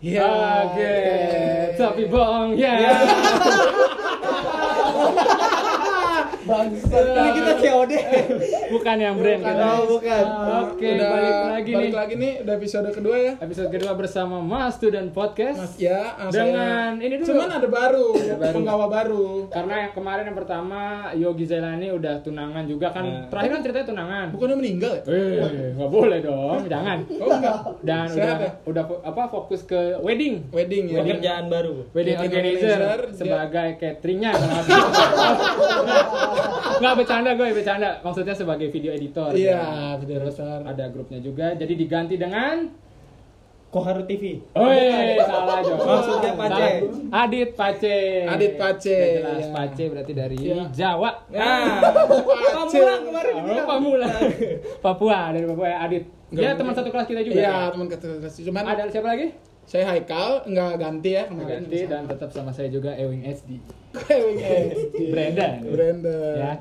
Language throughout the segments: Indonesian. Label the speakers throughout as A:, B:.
A: Ya, get, tapi bong, ya.
B: Iya. Bangsa.
C: Ini kita COD.
A: Bukan yang brand kita.
C: Oh, bukan.
A: Oke, balik lagi
B: gitu. balik
A: nih.
B: lagi nih udah episode kedua ya.
A: Episode kedua bersama Mas Tu dan Podcast.
B: Mas ya, ah,
A: Dengan
B: saya-
A: ini dulu.
B: Cuman ada baru,
A: baru.
B: penggawa baru.
A: Karena yang kemarin yang pertama Yogi Zailani udah tunangan juga kan.
C: Nah.
A: Terakhir kan ceritanya tunangan.
B: Bukannya meninggal ya?
A: Eh, nggak boleh dong, jangan.
B: Oh enggak.
A: Dan udah
B: Siapa?
A: udah fo- apa fokus ke wedding.
B: Wedding ya.
C: Pekerjaan baru.
A: Wedding
B: Wedding
A: organizer,
B: organizer, dia-
A: sebagai cateringnya nggak bercanda gue bercanda maksudnya sebagai video editor
B: Iya,
A: Ya.
B: video besar.
A: ada grupnya juga jadi diganti dengan
C: Koharu TV.
A: Woi, salah Jo.
C: Maksudnya Pace.
A: Salah. Adit Pace.
B: Adit Pace,
A: Udah jelas
B: iya.
A: Pace berarti dari
B: Iya.
A: Jawa.
C: Nah,
B: Pamulang
C: kemarin.
A: Oh, Papua. Papua dari Papua ya Adit.
B: Nggak
A: Dia
B: boleh.
A: teman satu kelas kita juga. ya?
B: Iya, teman kasih Cuman
A: Ada siapa lagi?
B: saya Haikal enggak ganti ya kemarin.
A: Ganti dan tetap sama saya juga Ewing SD.
B: Gue weekend.
A: Brandon.
B: Iya, Brandon.
A: Ya.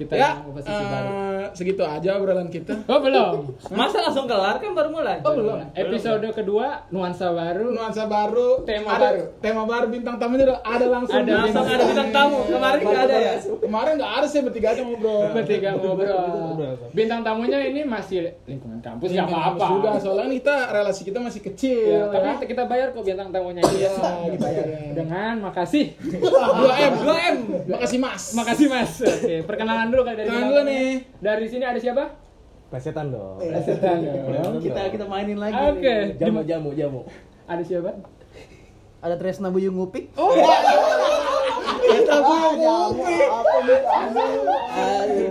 A: Kita
B: ya,
A: yang posisi baru.
B: eh, segitu aja obrolan kita.
A: Oh, belum.
C: Masa langsung kelar kan baru mulai.
B: Oh, belum.
A: Episode kedua nuansa baru.
B: Nuansa baru,
A: Tema
B: ada,
A: baru.
B: tema baru bintang tamunya udah ada langsung.
A: Ada
C: Langsung ada bintang tamu. Kemarin nggak ada ya. Nah.
B: Kemarin nggak ada sih bertiga aja ngobrol.
A: Bertiga
C: ngobrol.
A: ngobrol. Bintang tamunya ini masih lingkungan kampus nggak apa-apa.
B: Sudah, soalnya nih kita relasi kita masih kecil.
A: Iya, tapi
B: ya.
A: kita bayar kok bintang tamunya ini.
B: Iya, kita bayar.
A: Dengan makasih.
B: 2M, 2M. Makasih Mas.
A: makasih Mas. Oke, perkenalan dulu kali dari
B: Kenalan
A: bintang
B: dulu
A: tamunya.
B: nih.
A: Dari sini ada siapa?
D: Plesetan dong.
C: Kita kita mainin lagi.
A: Oke.
C: nih.
D: Eh, Jamu jamu jamu.
A: Ada siapa?
C: Ada Tresna Buyung Ngupik.
B: Oh,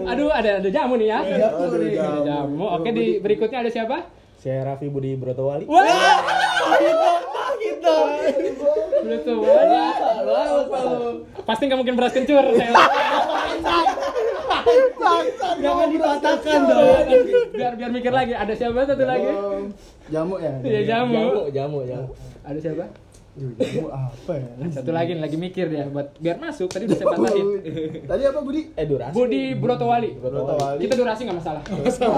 A: Aduh, ada ada jamu nih ya.
D: Aduh,
A: Ada
D: jamu.
A: jamu. Oke, di berikutnya ada siapa?
D: Saya Raffi Budi Brotowali.
A: Wah,
C: Kita.
A: udah tuh. wah. Pasti nggak mungkin beras kencur.
C: Jangan dipatahkan dong.
A: biar biar mikir lagi. Ada siapa satu lagi?
E: jamu ya
A: Iya,
D: Jamu
A: jamu.
D: jamu jamu.
A: Ada siapa?
E: Duh, jamu apa ya
A: Satu lagi lagi mikir dia buat biar masuk tadi udah saya patahin.
E: tadi apa Budi
D: Eh durasi.
A: Budi Brotowali.
E: Brotowali
A: Kita durasi nggak masalah.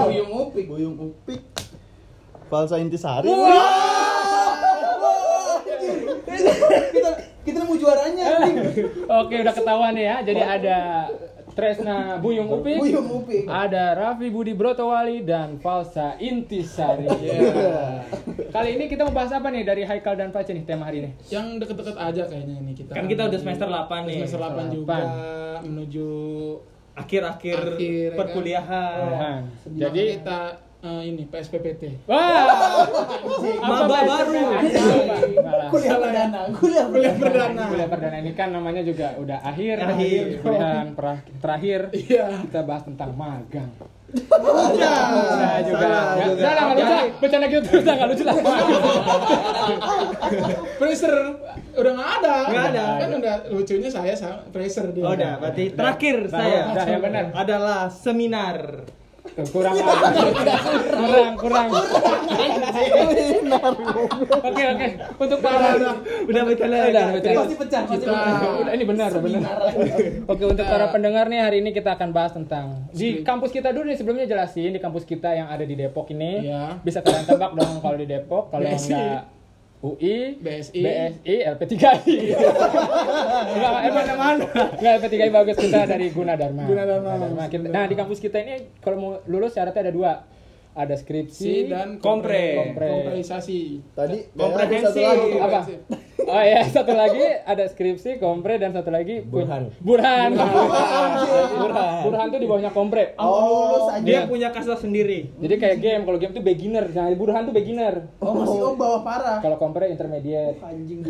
B: Buyung Upik.
E: Buyung Upik Falsa Intisari
C: Kita kita nemu juaranya.
A: Oke, udah ketahuan ya. Jadi ada Tresna Buyung Upik,
C: Buyung Upik.
A: ada Raffi Budi Brotowali dan Falsa Intisari. Ya. Kali ini kita mau bahas apa nih dari Haikal dan Pace nih tema hari ini?
B: Yang deket-deket aja kayaknya ini kita.
C: Kan kita udah semester 8 nih.
B: Semester 8 juga menuju
C: Akhir-akhir
B: Akhir, ya kan?
F: Eh,
C: perkuliahan.
A: Nah, Jadi
B: Jadi kita eh, ini PSPPT.
A: Wah,
C: Maba
A: PSPP?
C: baru.
A: Maba. Malah.
B: Kuliah perdana, kuliah perdana.
A: Kuliah perdana ini kan namanya juga udah akhir,
C: Akhir.
A: kuliahan perah- terakhir.
B: Iya.
A: Kita bahas tentang magang.
B: Iya.
A: Nah, juga.
E: salah
A: Ya,
E: juga.
A: Udah lah, nggak lucu lah. Bercanda gitu terus lah, nggak lucu lah.
B: Freezer udah nggak ada.
C: Nggak ada.
B: Kan udah lucunya saya sama Freezer dia.
C: Oh, udah, berarti terakhir
A: Udah,
C: saya
A: udah, ya benar.
C: adalah seminar.
A: Tuh, kurang apa? kurang kurang oke oke untuk para
C: Udah betul
A: Udah,
C: udah.
A: udah, udah.
C: Pasti pecah, pasti
B: Kita-
C: pecah.
A: Udah, ini benar benar oke untuk para pendengar nih hari ini kita akan bahas tentang di kampus kita dulu nih sebelumnya jelasin di kampus kita yang ada di Depok ini
B: Iya.
A: bisa kalian tebak dong kalau di Depok kalau
B: BSI.
A: enggak UI,
B: BSI.
A: BSI, LP3I. Enggak, emang mana? Enggak, LP3I bagus kita dari Gunadarma.
B: Gunadarma.
A: Kita- Nah, di kampus kita ini kalau mau lulus syaratnya ada dua. Ada
B: Si
A: skripsi
B: dan
C: Kompre.
A: Kompre.
B: Kompresasi.
E: tadi
C: Komprehensif.
E: satu lagi.
A: apa?
B: Komprehensif.
A: Oh ya, satu lagi ada skripsi, kompre dan satu lagi pun-
D: Burhan.
A: Burhan. Burhan.
D: Burhan.
A: Burhan tuh di bawahnya kompre.
C: Ampun,
E: lulus aja.
C: Dia punya kasta sendiri.
A: Jadi kayak game, kalau game tuh beginner. Nah, Burhan tuh beginner.
E: oh masih om bawah parah
A: Kalau kompre intermediate.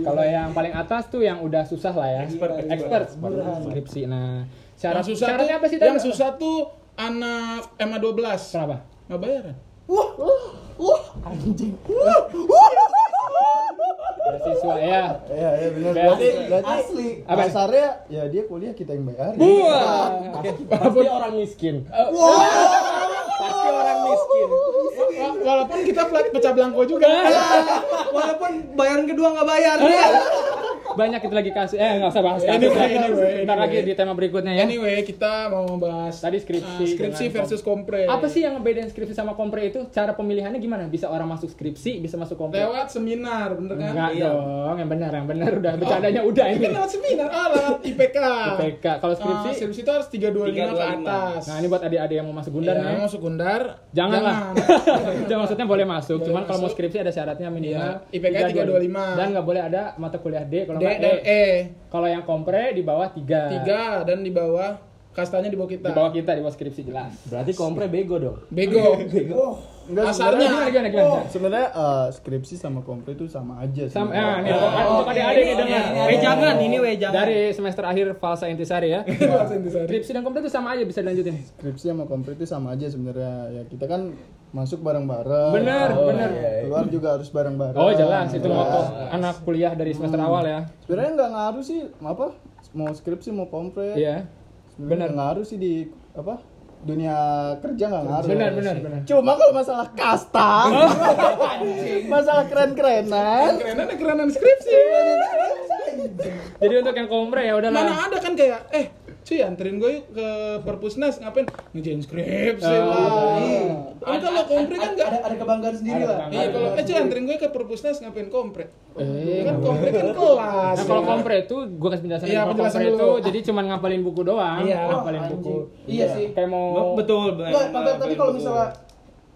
A: Kalau yang paling atas tuh yang udah susah lah ya.
C: Expert,
A: expert,
C: expert.
A: skripsi. Nah, syarat
B: Yang susah
A: syaratnya
B: tuh,
A: apa sih tadi?
B: yang susah tuh anak MA 12.
A: Kenapa?
B: Nggak bayaran.
A: Beasiswa ya.
E: ya ya benar
A: Berarti-
E: berarti berarti
C: asli.
A: Apa?
E: dasarnya ya dia kuliah kita yang bayar
A: Wah.
D: Pasti orang miskin. Pasti orang miskin.
B: Wa- Walaupun kita pla- pecah belangko juga.
C: Walaupun bayaran kedua nggak bayar.
A: banyak itu lagi kasus eh nggak usah bahas kasus
B: Anyway,
A: lah.
B: anyway,
A: Ntar lagi
B: anyway.
A: di tema berikutnya ya
B: Anyway, kita mau bahas
A: Tadi skripsi
B: eh, skripsi
A: dengan
B: versus kompre.
A: apa sih yang ngebedain skripsi sama kompre itu cara pemilihannya gimana bisa orang masuk skripsi bisa masuk kompre
B: Lewat seminar, bener kan?
A: enggak
C: Iya.
A: dong yang benar yang benar udah bercandanya udah
B: Ini
A: ini
B: kan lewat seminar, ah, lewat IPK.
A: IPK kalau skripsi
B: Ah, skripsi itu harus 325 ke
C: 325.
B: atas.
A: nah ini buat adik-adik yang mau masuk
B: Gundar
A: gundar
B: ya.
A: nih
B: masuk Gundar.
A: Janganlah. Jangan maksudnya boleh masuk,
B: Boleh
A: cuman kalau mau
B: masuk.
A: skripsi ada syaratnya minimal
B: Iya, IPK 325.
A: Dan nggak boleh ada mata kuliah D kalau
B: D
A: nggak
B: dan
A: E.
B: E.
A: Kalau yang kompre di bawah 3.
B: 3 dan di bawah kastanya di bawah kita.
A: Di bawah kita di bawah skripsi jelas.
D: Berarti kompre bego dong.
B: Bego. Asarnya.
E: Enggak, sebenarnya-
A: Gimana gimana gimana?
E: Oh, sebenarnya eh, skripsi sama kompre itu sama aja sih.
A: Sam, eh,
E: Oh.
A: nih, untuk adik-adik nih dengar.
C: ini, ini, Wejangan, ini wejangan.
A: Dari semester akhir Falsa Intisari ya. Skripsi dan kompre itu sama aja bisa dilanjutin.
E: skripsi sama kompre itu sama aja sebenarnya. Ya kita kan masuk bareng-bareng.
A: Bener,
E: Oh,
A: bener.
E: iya, iya. Keluar juga harus bareng-bareng.
A: Oh jelas itu
E: Jelas.
A: moto anak kuliah dari semester awal ya.
E: Sebenarnya nggak ngaruh sih apa mau skripsi mau kompre.
A: Iya.
E: Benar. Ngaruh sih di apa? Dunia kerja nggak ngaruh.
A: Benar, benar, benar.
E: Cuma kalau masalah kasta, masalah keren-kerenan,
B: Kerenan ada kerenan skripsi.
A: Jadi untuk yang kompre ya udahlah.
B: Mana ada kan kayak eh cuy anterin gue yuk ke perpusnas ngapain ngejain skripsi
A: Oh,
B: lah.
A: iya.
B: Tapi kalau kompre kan enggak.
D: Ada ada kebanggaan sendiri lah.
B: Iya kalau eh cuy anterin gue ke perpusnas ngapain kompre?
A: Eh,
B: Kan kompre kan kelas.
A: Nah, kalau kompre itu gue kasih penjelasan
B: Iya,
A: dulu. kalau
B: penjelasan
A: kompre
B: dulu.
A: itu jadi cuman ngapalin buku doang,
B: Iya.
A: ngapalin buku.
D: Iya sih.
A: Kayak mau
C: Betul,
D: Enggak, makanya tadi kalau misalnya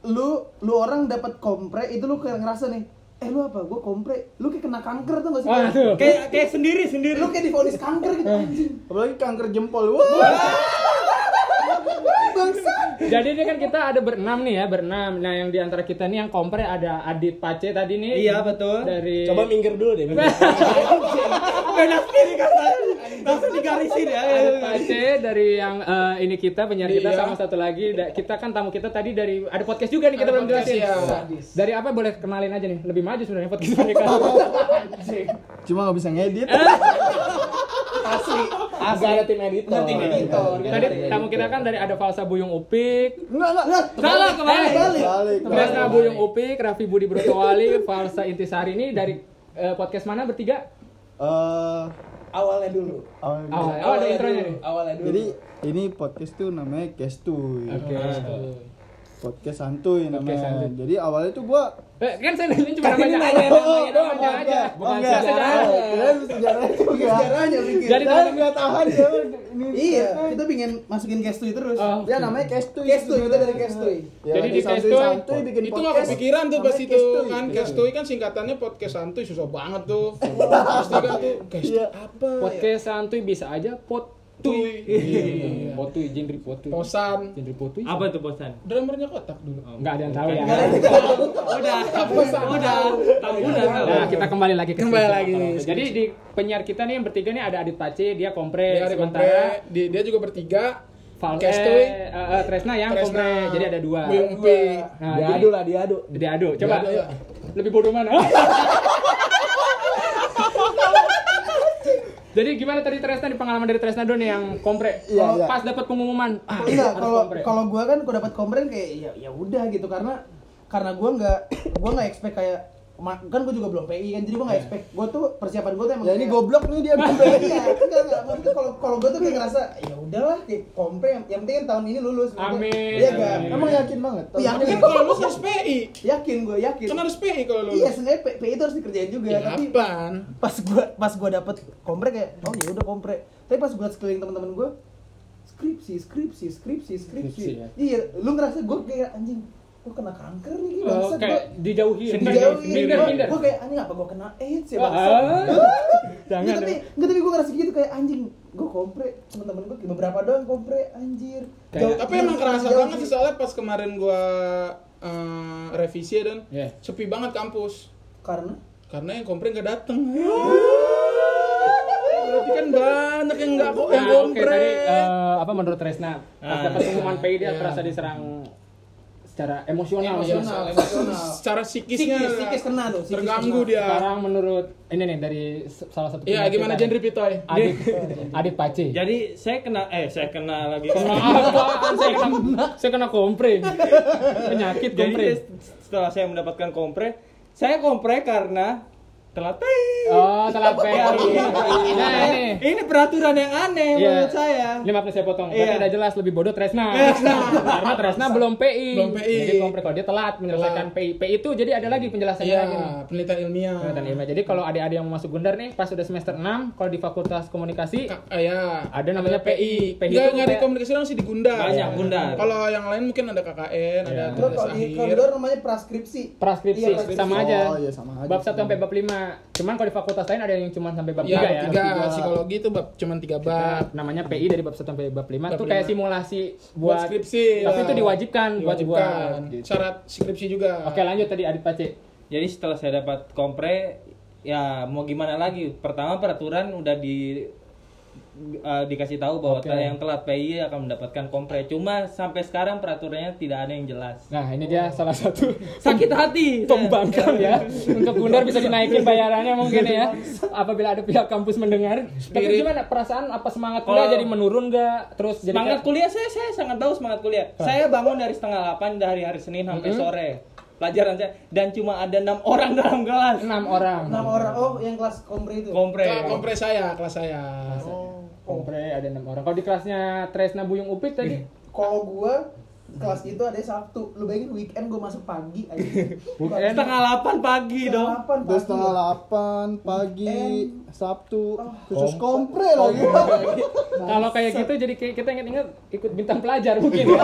D: lu lu orang dapat kompre itu lu kayak ngerasa nih eh lu apa gue kompre lu kayak kena kanker tuh gak sih
A: Wah, tuh.
C: kayak kayak sendiri sendiri.
D: lu kayak difonis kanker gitu anjing
E: Eh. apalagi kanker jempol. Wah,
A: Jadi ini kan kita ada berenam nih ya, berenam. Nah, yang di antara kita nih yang kompre ada Adit Pace tadi nih.
C: Iya, betul.
A: Dari
D: coba minggir dulu deh minggir.
C: Beda sendiri katanya. Langsung digarisin ya.
A: Adit Pace dari yang eh, ini kita penyiar kita
B: Iya.
A: sama satu lagi da- kita kan tamu kita tadi dari ada podcast juga nih kita
B: Ada
A: belum
B: podcast,
A: jelasin.
B: iya.
A: Sadis. Dari apa boleh kenalin aja nih, lebih maju sebenarnya podcast mereka.
E: cuma nggak bisa ngedit.
D: Eh. asal ada tim
A: Ada
D: editor
A: tim
D: editor
A: tadi tamu kita kan dari ada Falsa Buyung Upik,
E: Enggak, enggak.
A: Salah kemarin.
E: Balik. Balik.
A: Tresna Buyung Upik, Raffi Budi Brutowali, Falsa Intisari ini dari eh, podcast mana bertiga?
E: Eh,
D: awalnya dulu
E: awal dulu.
F: Iya.
A: Awal. Oh, ada intronya nih.
D: awalnya dulu
E: Jadi ini podcast tuh namanya Kestuy.
A: Oke.
E: Podcast santuy namanya.
A: santuy.
E: Jadi awalnya tuh gua
A: Eh, kan saya nanya cuma
D: Kan
A: namanya.
D: ini nanya namanya doang,
A: namanya aja.
E: Oh,
A: Bukan
E: enggak.
A: sejarahnya.
E: Kira sejarahnya juga.
D: sejarahnya bikin
A: Jadi
E: Saya nggak tahan ya. Ini
D: iya kita pingin masukin castui terus
A: Oh.
E: Ya namanya Kestuy.
D: castui kita dari castui
E: Ya,
A: Jadi di
E: santuy-
A: Kestuy-
E: santuy bikin
B: itu nggak
E: podcast.
B: kepikiran tuh pas
E: namanya
B: itu
E: Kestuy.
B: kan
E: Iya.
B: Kestuy kan singkatannya podcast santuy susah banget tuh pasti kan tuh Kestuy
E: Iya.
B: apa ya?
A: Podcast santuy bisa aja pot
B: Tuy.
A: tuy.
B: Iya.
A: Potuy genre potuy.
B: posan
A: Genre potuy.
C: Apa tuh bosan?
B: drummernya kotak dulu
A: Enggak ada yang tahu ya.
C: Udah, udah, tahu udah tahu.
A: Nah, kita kembali lagi ke
B: Kembali
A: skripsi.
B: lagi nih,
A: Jadi di penyiar kita nih yang bertiga nih ada Adit Pace, dia kompre,
B: dia ada
A: sementara
B: kompre, dia, dia juga bertiga
A: Fal
B: Kestuy,
A: eh, eh, eh, Tresna yang
B: Tresna,
A: kompre. Jadi ada dua.
B: Buyung Upi.
A: Nah, jadi-
D: diadu lah diadu
A: Diadu, coba.
B: Diadu, yuk.
A: Lebih bodoh mana? Jadi gimana tadi Tresna di pengalaman dari Tresna Don yang kompre?
E: Iya,
A: Kalau
E: iya.
A: pas dapat pengumuman, ah,
D: Enggak,
A: harus
D: kalau
A: kompre.
D: kalau gua kan gua dapat komplain kayak ya ya udah gitu karena karena gua nggak gua nggak expect kayak ma- kan gua juga belum PI kan jadi gua
A: Iya.
D: nggak expect gua tuh persiapan gua tuh emang
E: Ya ini
D: kayak-
E: goblok nih dia bikin
D: iya enggak enggak maksudnya kalau kalau gua tuh kayak ngerasa ya udahlah kayak kompre yang, yang penting kan tahun ini lulus gitu.
A: Amin.
D: iya enggak
A: Amin.
E: kan? Emang ya, yakin banget.
B: Tapi
D: Yakin.
B: kan kalau lu harus PI
D: yakin gua yakin
B: kan harus PI kalau lu
D: iya sebenarnya P- PI itu harus dikerjain juga tapi
B: apaan
D: pas gua pas gua dapet kompre kayak oh ya udah kompre tapi pas gua liat sekeliling teman-teman gua skripsi skripsi skripsi skripsi,
A: Skripsi, ya?
D: iya lu ngerasa gua kayak anjing gua kena kanker nih gini
A: Oh,
D: bangsat
A: kayak dijauhi, dijauhi,
D: gua dijauhin
A: minder,
D: Gua-
A: minder.
D: gua kayak anjing apa gua kena AIDS ya
A: Ah,
D: bangsat
A: jangan.
D: Nggak, Iya, tapi nggak tapi gua ngerasa gitu kayak anjing gua kompre teman-teman gua beberapa doang kompre anjir
A: Kayak-
D: Jauh-
B: tapi emang
D: jauh-
B: kerasa
D: jauh-
B: banget sih soalnya pas kemarin gua eh, revisi ya dan
A: Iya.
B: sepi banget kampus
D: karena
B: karena yang komplain gak dateng berarti kan banyak yang nggak kok
A: Nah,
B: yang
A: oke
B: komplain
A: tadi eh, apa menurut Tresna pas
C: Ah.
A: dapat pengumuman PI dia
B: Iya.
A: terasa diserang secara emosional. ya.
D: Emosional.
B: iya.
D: emosional.
B: secara psikisnya
D: Psikis, psikis kena tuh, psikis
B: terganggu
D: kena.
B: dia
A: Sekarang menurut ini nih dari se- salah satu
B: iya
A: penyiar
B: gimana
A: kita
B: genre
A: nih.
B: pitoy
A: Adit Adit Pace.
C: Jadi saya kena eh saya kena lagi.
A: Apaan saya kena saya kena kompre. Penyakit
C: Jadi
A: kompre.
C: setelah saya mendapatkan kompre, saya kompre karena
B: telat "Tei."
A: Oh, salah peti. Nah, ini.
C: Ini peraturan yang aneh
A: Iya.
C: menurut saya.
A: Ini maaf nih saya potong.
C: Iya.
A: Berarti ada jelas lebih bodoh Tresna. Karena Tresna belum PI.
B: Belum PI.
A: Jadi kompre kalau dia telat menyelesaikan PI. PI itu jadi ada lagi penjelasannya
B: Iya,
A: lagi. nih.
B: penelitian ilmiah.
A: Pengetahuan ilmiah. Jadi kalau adik-adik yang mau masuk Gundar nih pas udah semester 6 kalau di Fakultas Komunikasi
B: Ka- ah, ya.
A: Ada namanya PI. PI
B: Nggak,
A: itu
B: nggak di
A: kayak-
B: komunikasi langsung sih di Gundar.
C: Banyak, Gundar.
B: Kalau yang lain mungkin ada KKN, ada
A: Iya.
D: Kalau
B: tugas
D: kalau di
B: akhir.
D: koridor namanya praskripsi.
A: praskripsi
D: Iya,
A: sama
E: Oh,
A: aja.
E: iya, sama aja.
A: Bab 1 sampai bab 5. Cuman kalau di fakultas lain ada yang cuma sampai bab Iya. 3
B: Iya,
A: ya. Nah,
B: bab tiga. Psikologi itu bab cuman tiga bab.
A: namanya PI dari bab 1 sampai bab 5
B: Bab
A: itu kayak
B: lima.
A: simulasi
B: Buat
A: buat,
B: skripsi.
A: Tapi
B: ya.
A: itu diwajibkan, buat
B: Diwajibkan.
A: buat gitu.
B: Syarat skripsi juga.
A: Oke, lanjut tadi Adit Pace.
F: Jadi setelah saya dapat kompre, ya mau gimana lagi? Pertama peraturan udah di eh, dikasih tahu bahwa
A: Oke.
F: yang telat PI akan mendapatkan kompre. Cuma sampai sekarang peraturannya tidak ada yang jelas.
A: Nah, ini dia salah satu
F: Sakit hati. saya.
A: pembangkang ya. Untuk Gundar bisa dinaikin bayarannya mungkin ya. Apabila ada pihak kampus mendengar. Tapi
B: Spirit.
A: gimana perasaan apa semangat
F: Kalau-
D: Oh.
A: kuliah jadi menurun nggak? Terus jadi
F: semangat
A: kayak- Ah.
F: kuliah saya saya sangat tahu semangat kuliah. Saya bangun dari setengah 8 dari hari Senin sampai sore. Pelajaran saya dan cuma ada enam orang dalam kelas.
A: enam orang.
D: Nama orang oh yang kelas kompre itu.
F: Kompre.
B: Ke- kompre saya, kelas saya.
A: Kompre ada enam orang. Kalau di kelasnya Tresna Buyung Upit tadi
D: Iya. Kalau gua kelas itu ada Sabtu. Lu bayangin weekend gua masuk pagi aja.
A: Iya Weekend?
F: Setengah 8 pagi dong.
D: Delapan
E: Terus
D: pagi.
E: setengah 8 pagi Sabtu khusus kompre lagi.
A: Kalau kayak gitu jadi kayak kita inget-inget ikut bintang pelajar mungkin. ya.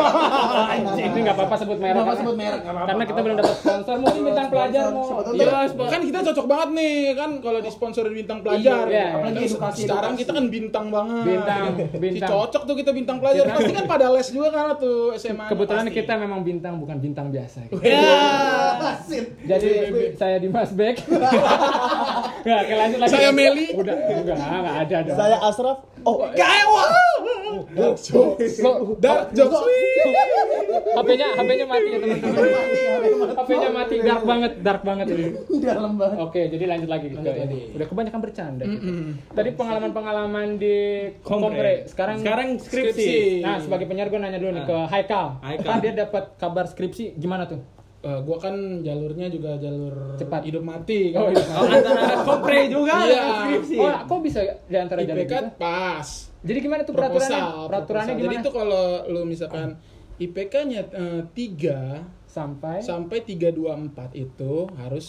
A: Anjing, Ini nggak apa-apa sebut merek.
D: Iya. Nggak apa-apa
A: karena-
D: sebut merek, nggak apa-apa.
A: Karena kita belum dapat sponsor, mungkin bintang pelajar mau.
D: Siapa tahu
B: Iya, kan kita cocok banget nih kan kalau disponsorin bintang pelajar.
A: Iya,
D: apalagi
B: Terus
D: edukasi,
B: Sekarang
D: edukasi.
B: kita kan bintang banget.
A: Bintang,
B: Si
A: bintang.
B: cocok tuh kita bintang pelajar. Pasti kan pada les juga kan tuh
D: Iya,
B: SMA.
A: Kebetulan kita memang bintang bukan bintang biasa. gitu.
B: Iya.
D: Asin.
A: Jadi saya di Mas Bek. Nggak, oke, lanjut lagi.
B: Saya Meli.
A: Udah, enggak, enggak ada dong.
E: Saya Asraf. Oh,
A: Lo,
B: Dark jokes. wih.
A: HP-nya, HP-nya mati ya teman-teman. HP-nya mati, dark banget, dark banget ini.
D: Dalam banget.
E: Oh.
A: Oke, jadi lanjut lagi ke
B: Lanjut
A: ini.
B: lagi.
A: Udah kebanyakan bercanda. kita. Tadi pengalaman-pengalaman di kompre. Sekarang,
F: sekarang skripsi.
A: Nah, sebagai penyiar gue nanya dulu nih
F: Ah.
A: ke Haikal.
F: Haikal.
A: Kan dia dapat kabar skripsi gimana tuh?
B: Eh, gua kan jalurnya juga jalur
A: Cepat.
B: hidup mati.
A: Oh,
B: Kan?
A: iya.
F: Oh, antara kompre juga
B: Iya.
F: dengan skripsi.
A: Oh, kok bisa di antara jalur
B: IPK
A: gitu?
B: pas.
A: Jadi gimana tuh peraturannya?
B: kan Proposal.
A: Peraturannya
B: proposal.
A: gimana?
B: Jadi itu kalau lu misalkan IPK-nya 3
A: sampai
B: sampai 324 itu harus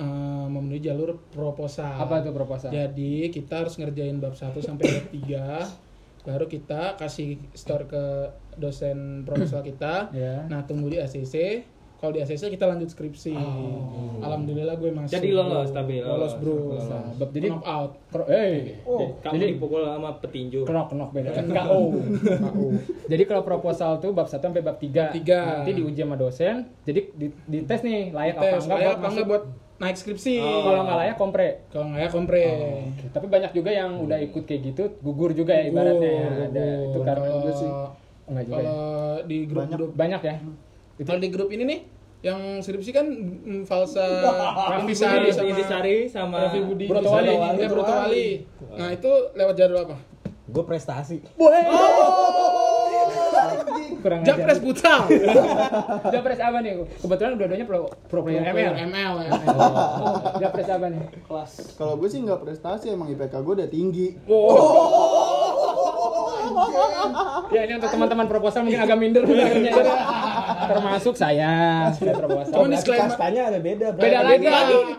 B: eh, memenuhi jalur proposal.
A: apa tuh proposal?
B: Jadi kita harus ngerjain bab 1 sampai bab 3 baru kita kasih store ke dosen proposal kita.
A: Ya.
B: Nah, tunggu di ACC. Kalau di ACC kita lanjut skripsi. Alhamdulillah gue masuk.
F: Jadi lolos
B: bro.
F: tapi
B: lolos,
F: lolos.
B: bro.
F: Lolos.
B: Nah, bab
A: Oh. Jadi-
B: knock out.
A: Kro- eh.
D: Oh.
F: Kamu
A: Jadi-
F: dipukul sama petinju.
A: Kenok kenok beda. KO. Jadi kalau proposal tuh bab 1 sampai bab 3.
B: oh. Tiga.
A: Nanti diuji sama dosen. Jadi di, di tes nih layak apa Oh.
B: Tes,
A: enggak
B: layak
A: buat
B: apa enggak
A: masuk.
B: buat naik skripsi.
A: Kalau nggak layak kompre.
B: Kalau nggak ya kompre.
A: Oke, Tapi banyak juga yang udah ikut kayak gitu gugur juga Oh. ya ibaratnya ya.
B: Gugur,
A: Ada
B: gugur.
A: itu karena
B: Kalau-
A: gugur sih. Enggak juga. ya.
B: Kalau di grup-grup
A: Banyak ya. Itu
B: Kalau di grup ini nih, yang skripsi kan mm, Falsa,
A: Raffi
B: Intisari
A: Budi,
B: sama
F: Intisari sama
B: Raffi Budi,
A: Broto Wali.
B: Intisari. Ya, Broto Wali. Nah itu lewat jadwal apa?
F: Gue prestasi.
A: kurang
B: Japres
A: ajar.
B: Putra.
A: Japres apa nih? Kebetulan dua-duanya pro pro player ML.
B: ML ya.
A: Japres apa nih?
E: kalau gue sih nggak prestasi emang IPK gue udah tinggi.
A: Ya ini untuk teman-teman proposal mungkin agak minder dengarnya. Termasuk saya sudah proposal.
B: Cuman disclaimer
C: ada beda, Bro.
A: Beda lagi.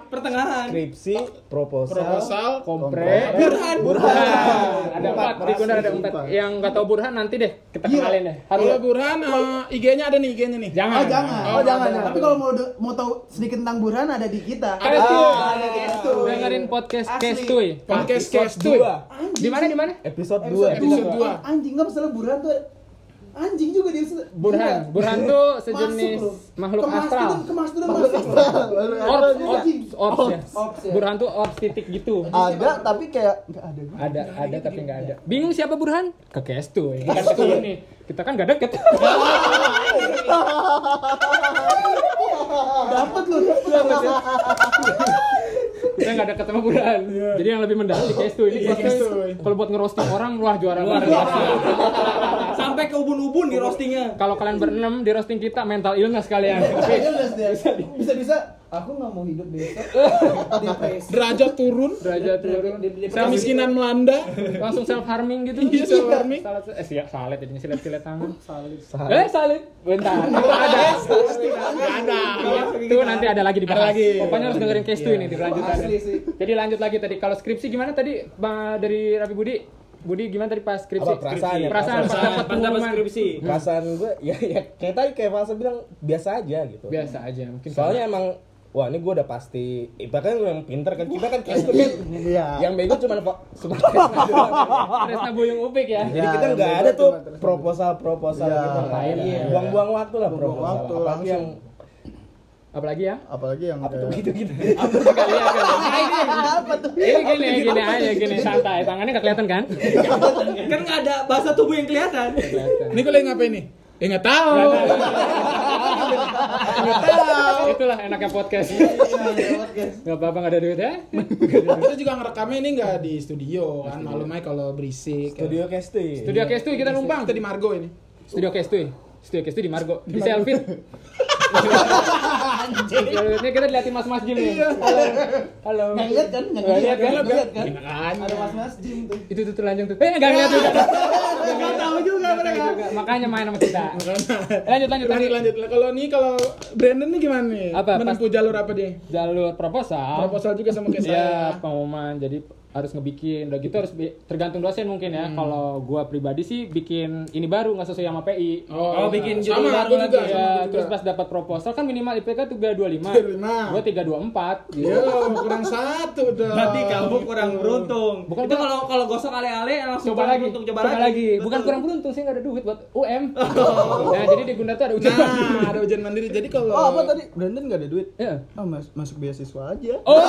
F: Pertengahan.
C: Skripsi, proposal.
B: proposal
A: Kompre.
C: Burhan,
A: Burhan. Ada
E: Empat,
A: empat. Di Gundar ada
E: merasa
A: empat. Iya.
E: empat.
A: Yang nggak tahu Burhan nanti deh kita kenalin deh. Harus.
B: kalau Burhan eh, IG-nya ada nih IG-nya nih.
A: Jangan.
D: Oh jangan,
A: Eh,
B: Oh,
D: oh jangan.
B: jangan.
D: Tapi kalau mau mau tahu sedikit tentang Burhan ada di kita.
A: Kes Tuy.
D: ada Kestuy.
A: Dengerin podcast
D: Asli.
A: Kestuy.
B: Podcast Cash tuh.
A: Di mana di mana?
C: Episode
B: Episode dua.
D: Eh, Anjing nggak masalah Burhan tuh anjing juga dia.
A: Burhan.
D: Gila.
A: Burhan tuh sejenis
D: Masuk, bro.
A: makhluk
D: Kemas
A: astral.
D: tuh- Kemas tuh masuk.
A: Orbs,
D: juga.
A: orbs, orbs, ya.
D: Orbs, ya.
A: Burhan tuh orbs titik gitu.
E: Ada tapi kayak nggak ada gue.
A: Ada, ada tapi nggak ada. Bingung siapa Burhan? Ke Kestuy. Kan ke sini. Kita kan nggak deket.
D: Dapat lu.
A: Iya,
D: Dapat ya.
A: Kita nggak ada ketemu Burhan. Jadi yang lebih mendasar di Kestuy ini. Kestuy. Kalau buat ngerosting orang, Iya, wah juara
F: Luar
A: banget.
F: biasa. Sampai ke
C: ke ubun-ubun di roastingnya.
A: Kalau kalian berenam di roasting kita mental illness kalian.
D: Kayaknya udah setiap- Bisa-bisa aku nggak mau hidup besok. Depresi.
B: derajat turun
A: Derajat turun.
B: kemiskinan melanda
A: Langsung self harming gitu.
B: Iya, self-harming.
A: Salet, eh siap salet jadinya silet-silet tangan.
E: Salah.
A: Eh salet. Bentar.
B: Iya,
A: ada.
B: ada
A: Itu nanti ada lagi
B: iya, Ada
A: dibahas.
B: lagi.
A: Pokoknya harus dengerin case 2 ini dilanjutannya.
D: Asli sih.
A: Jadi lanjut lagi tadi kalau skripsi gimana tadi Bang dari Rapi Budi? Budi gimana tadi pas skripsi?
G: Apa, perasaan ya?
A: Perasaan pas
G: Perasaan,
A: dapat
F: pas dapat
A: pengumuman.
F: skripsi.
G: perasaan gue ya, ya kayak tadi kayak Fasa bilang biasa aja gitu
A: Biasa aja mungkin.
G: soalnya emang wah ini gue udah pasti eh, bahkan gue yang pinter kan kita kan kayak kan
E: Iya.
G: yang bego cuma pak cuma Fasa doang.
A: Resna Boyong Upik ya.
G: jadi
E: Ya,
G: kita
E: yang
G: nggak
E: bego
G: ada tuh
E: cuma terus-
G: proposal proposal
E: Ya,
G: gitu
A: ngapain,
G: Iya.
A: ya.
G: buang-buang waktu lah
E: Buang-buang
G: proposal
E: waktu,
G: apalagi yang
A: Apalagi ya?
E: Apalagi yang
G: apa tuh
E: kayak
G: gitu gitu
B: kan?
A: Ini gini, gini aja, gini santai. Tangannya nggak kelihatan kan?
C: Kan nggak ada bahasa tubuh yang kelihatan.
A: Kelihatan.
B: ini kalian ngapain nih ya nggak tahu
A: Itulah enaknya podcast.
D: Iya,
A: Gak apa-apa gak ada duit ya?
B: kita juga ngerekamnya ini nggak di studio kan malum aja kalau berisik
G: studio casting
A: Studio Case Tui, kita numpang.
B: kita di Margo ini
A: Studio Case Tui. Studio Case Tui di Margo. Di Selfit. Selfitnya kita diliatin mas-mas Jim nih. Halo. Halo.
D: Nggak lihat kan? Nggak
A: Nggak
D: lihat
A: lihat kan?
D: kan? Nggak lihat kan?
B: makanya
D: Ada mas-mas gym tuh.
A: Itu tuh telanjang tuh. Eh nggak ngeliat juga.
C: Nggak tahu juga mereka.
A: Nggak, Makanya main sama kita. Eh, Lanjut lanjut
B: lanjut
A: lanjut.
B: lanjut kalau nih kalau Brandon nih gimana nih
A: Apa, pas-
B: menempuh jalur apa dia
A: Jalur proposal.
B: proposal juga sama kayak saya
A: Iya, pengumuman. Jadi harus ngebikin. Udah gitu harus bi- tergantung dosen mungkin ya. Kalau gua pribadi sih bikin ini baru nggak sesuai sama PI.
F: Oh, bikin judul
B: sama aku
F: baru
B: juga,
F: lagi.
B: sama
A: Ya,
B: aku
A: terus
B: juga.
A: pas dapat proposal kan minimal IPK 325.
B: 35.
A: Gua 324.
B: Yo, Iya, kurang satu dong.
C: Berarti kamu kurang beruntung.
A: Bukan
C: Itu
A: kurang-
C: kalau kalau gosok ale-ale langsung
A: Coba
C: kurang
A: lagi,
C: beruntung,
A: coba, lagi. Bukan
C: Betul.
A: kurang beruntung sih nggak ada duit buat UM. Nah, jadi di Gunda tuh ada ujian.
B: Oh. Nah, ada ujian mandiri. Jadi kalau
E: Oh, apa tadi? Brandon gak ada duit.
A: Iya.
E: Ah, mas masuk beasiswa aja.
A: Oh.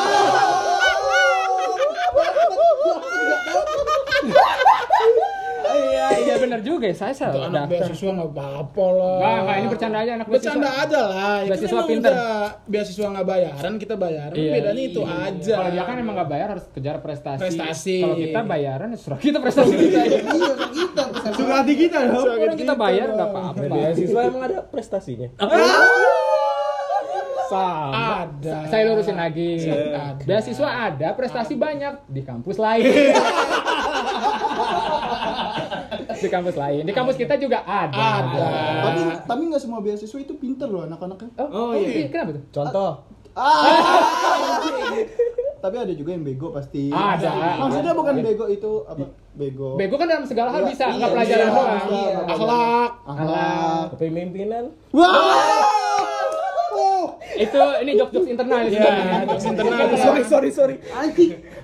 A: Iya, iya benar juga ya. Saya
B: Tuh,
A: salah
B: anak
A: daftar.
B: beasiswa nggak apa-apa lah.
A: Nggak, nggak, ini bercanda aja anak beasiswa.
B: Bercanda aja lah. Ya,
A: Beasiswa Iya.
B: kita emang
A: pinter.
B: udah beasiswa nggak bayaran, kita bayaran. Bedanya itu aja.
A: Kalau dia kan emang nggak bayar harus kejar prestasi.
B: Prestasi.
A: Kalau kita bayaran ya surah kita prestasi kita.
D: Iya, kan kita. pesan.
C: Suka hati kita dong.
A: Orang kita bayar
B: gitu
A: nggak apa-apa.
G: beasiswa emang ada prestasinya sama
B: ada.
A: Saya lurusin lagi.
B: Ada.
A: Beasiswa ada, prestasi banyak di kampus lain. di kampus lain. Di kampus kita juga ada.
B: Ada.
E: Tapi tapi nggak semua beasiswa itu pinter loh anak-anaknya.
A: Oh, oh, iya. Kenapa tuh?
G: contoh
E: Tapi ada juga yang bego pasti.
A: Ada.
E: Maksudnya bukan bego itu apa? Bego.
A: Bego kan dalam segala hal
E: Iya,
A: bisa,
E: iya,
A: nggak pelajaran
E: iya,
A: doang.
E: iya, iya.
B: Akhlak.
E: Akhlak.
G: kepemimpinan
A: Itu ini jokes-jokes internal ya. sebenarnya.
B: jokes internal.
A: Kalau-
G: sorry sorry sorry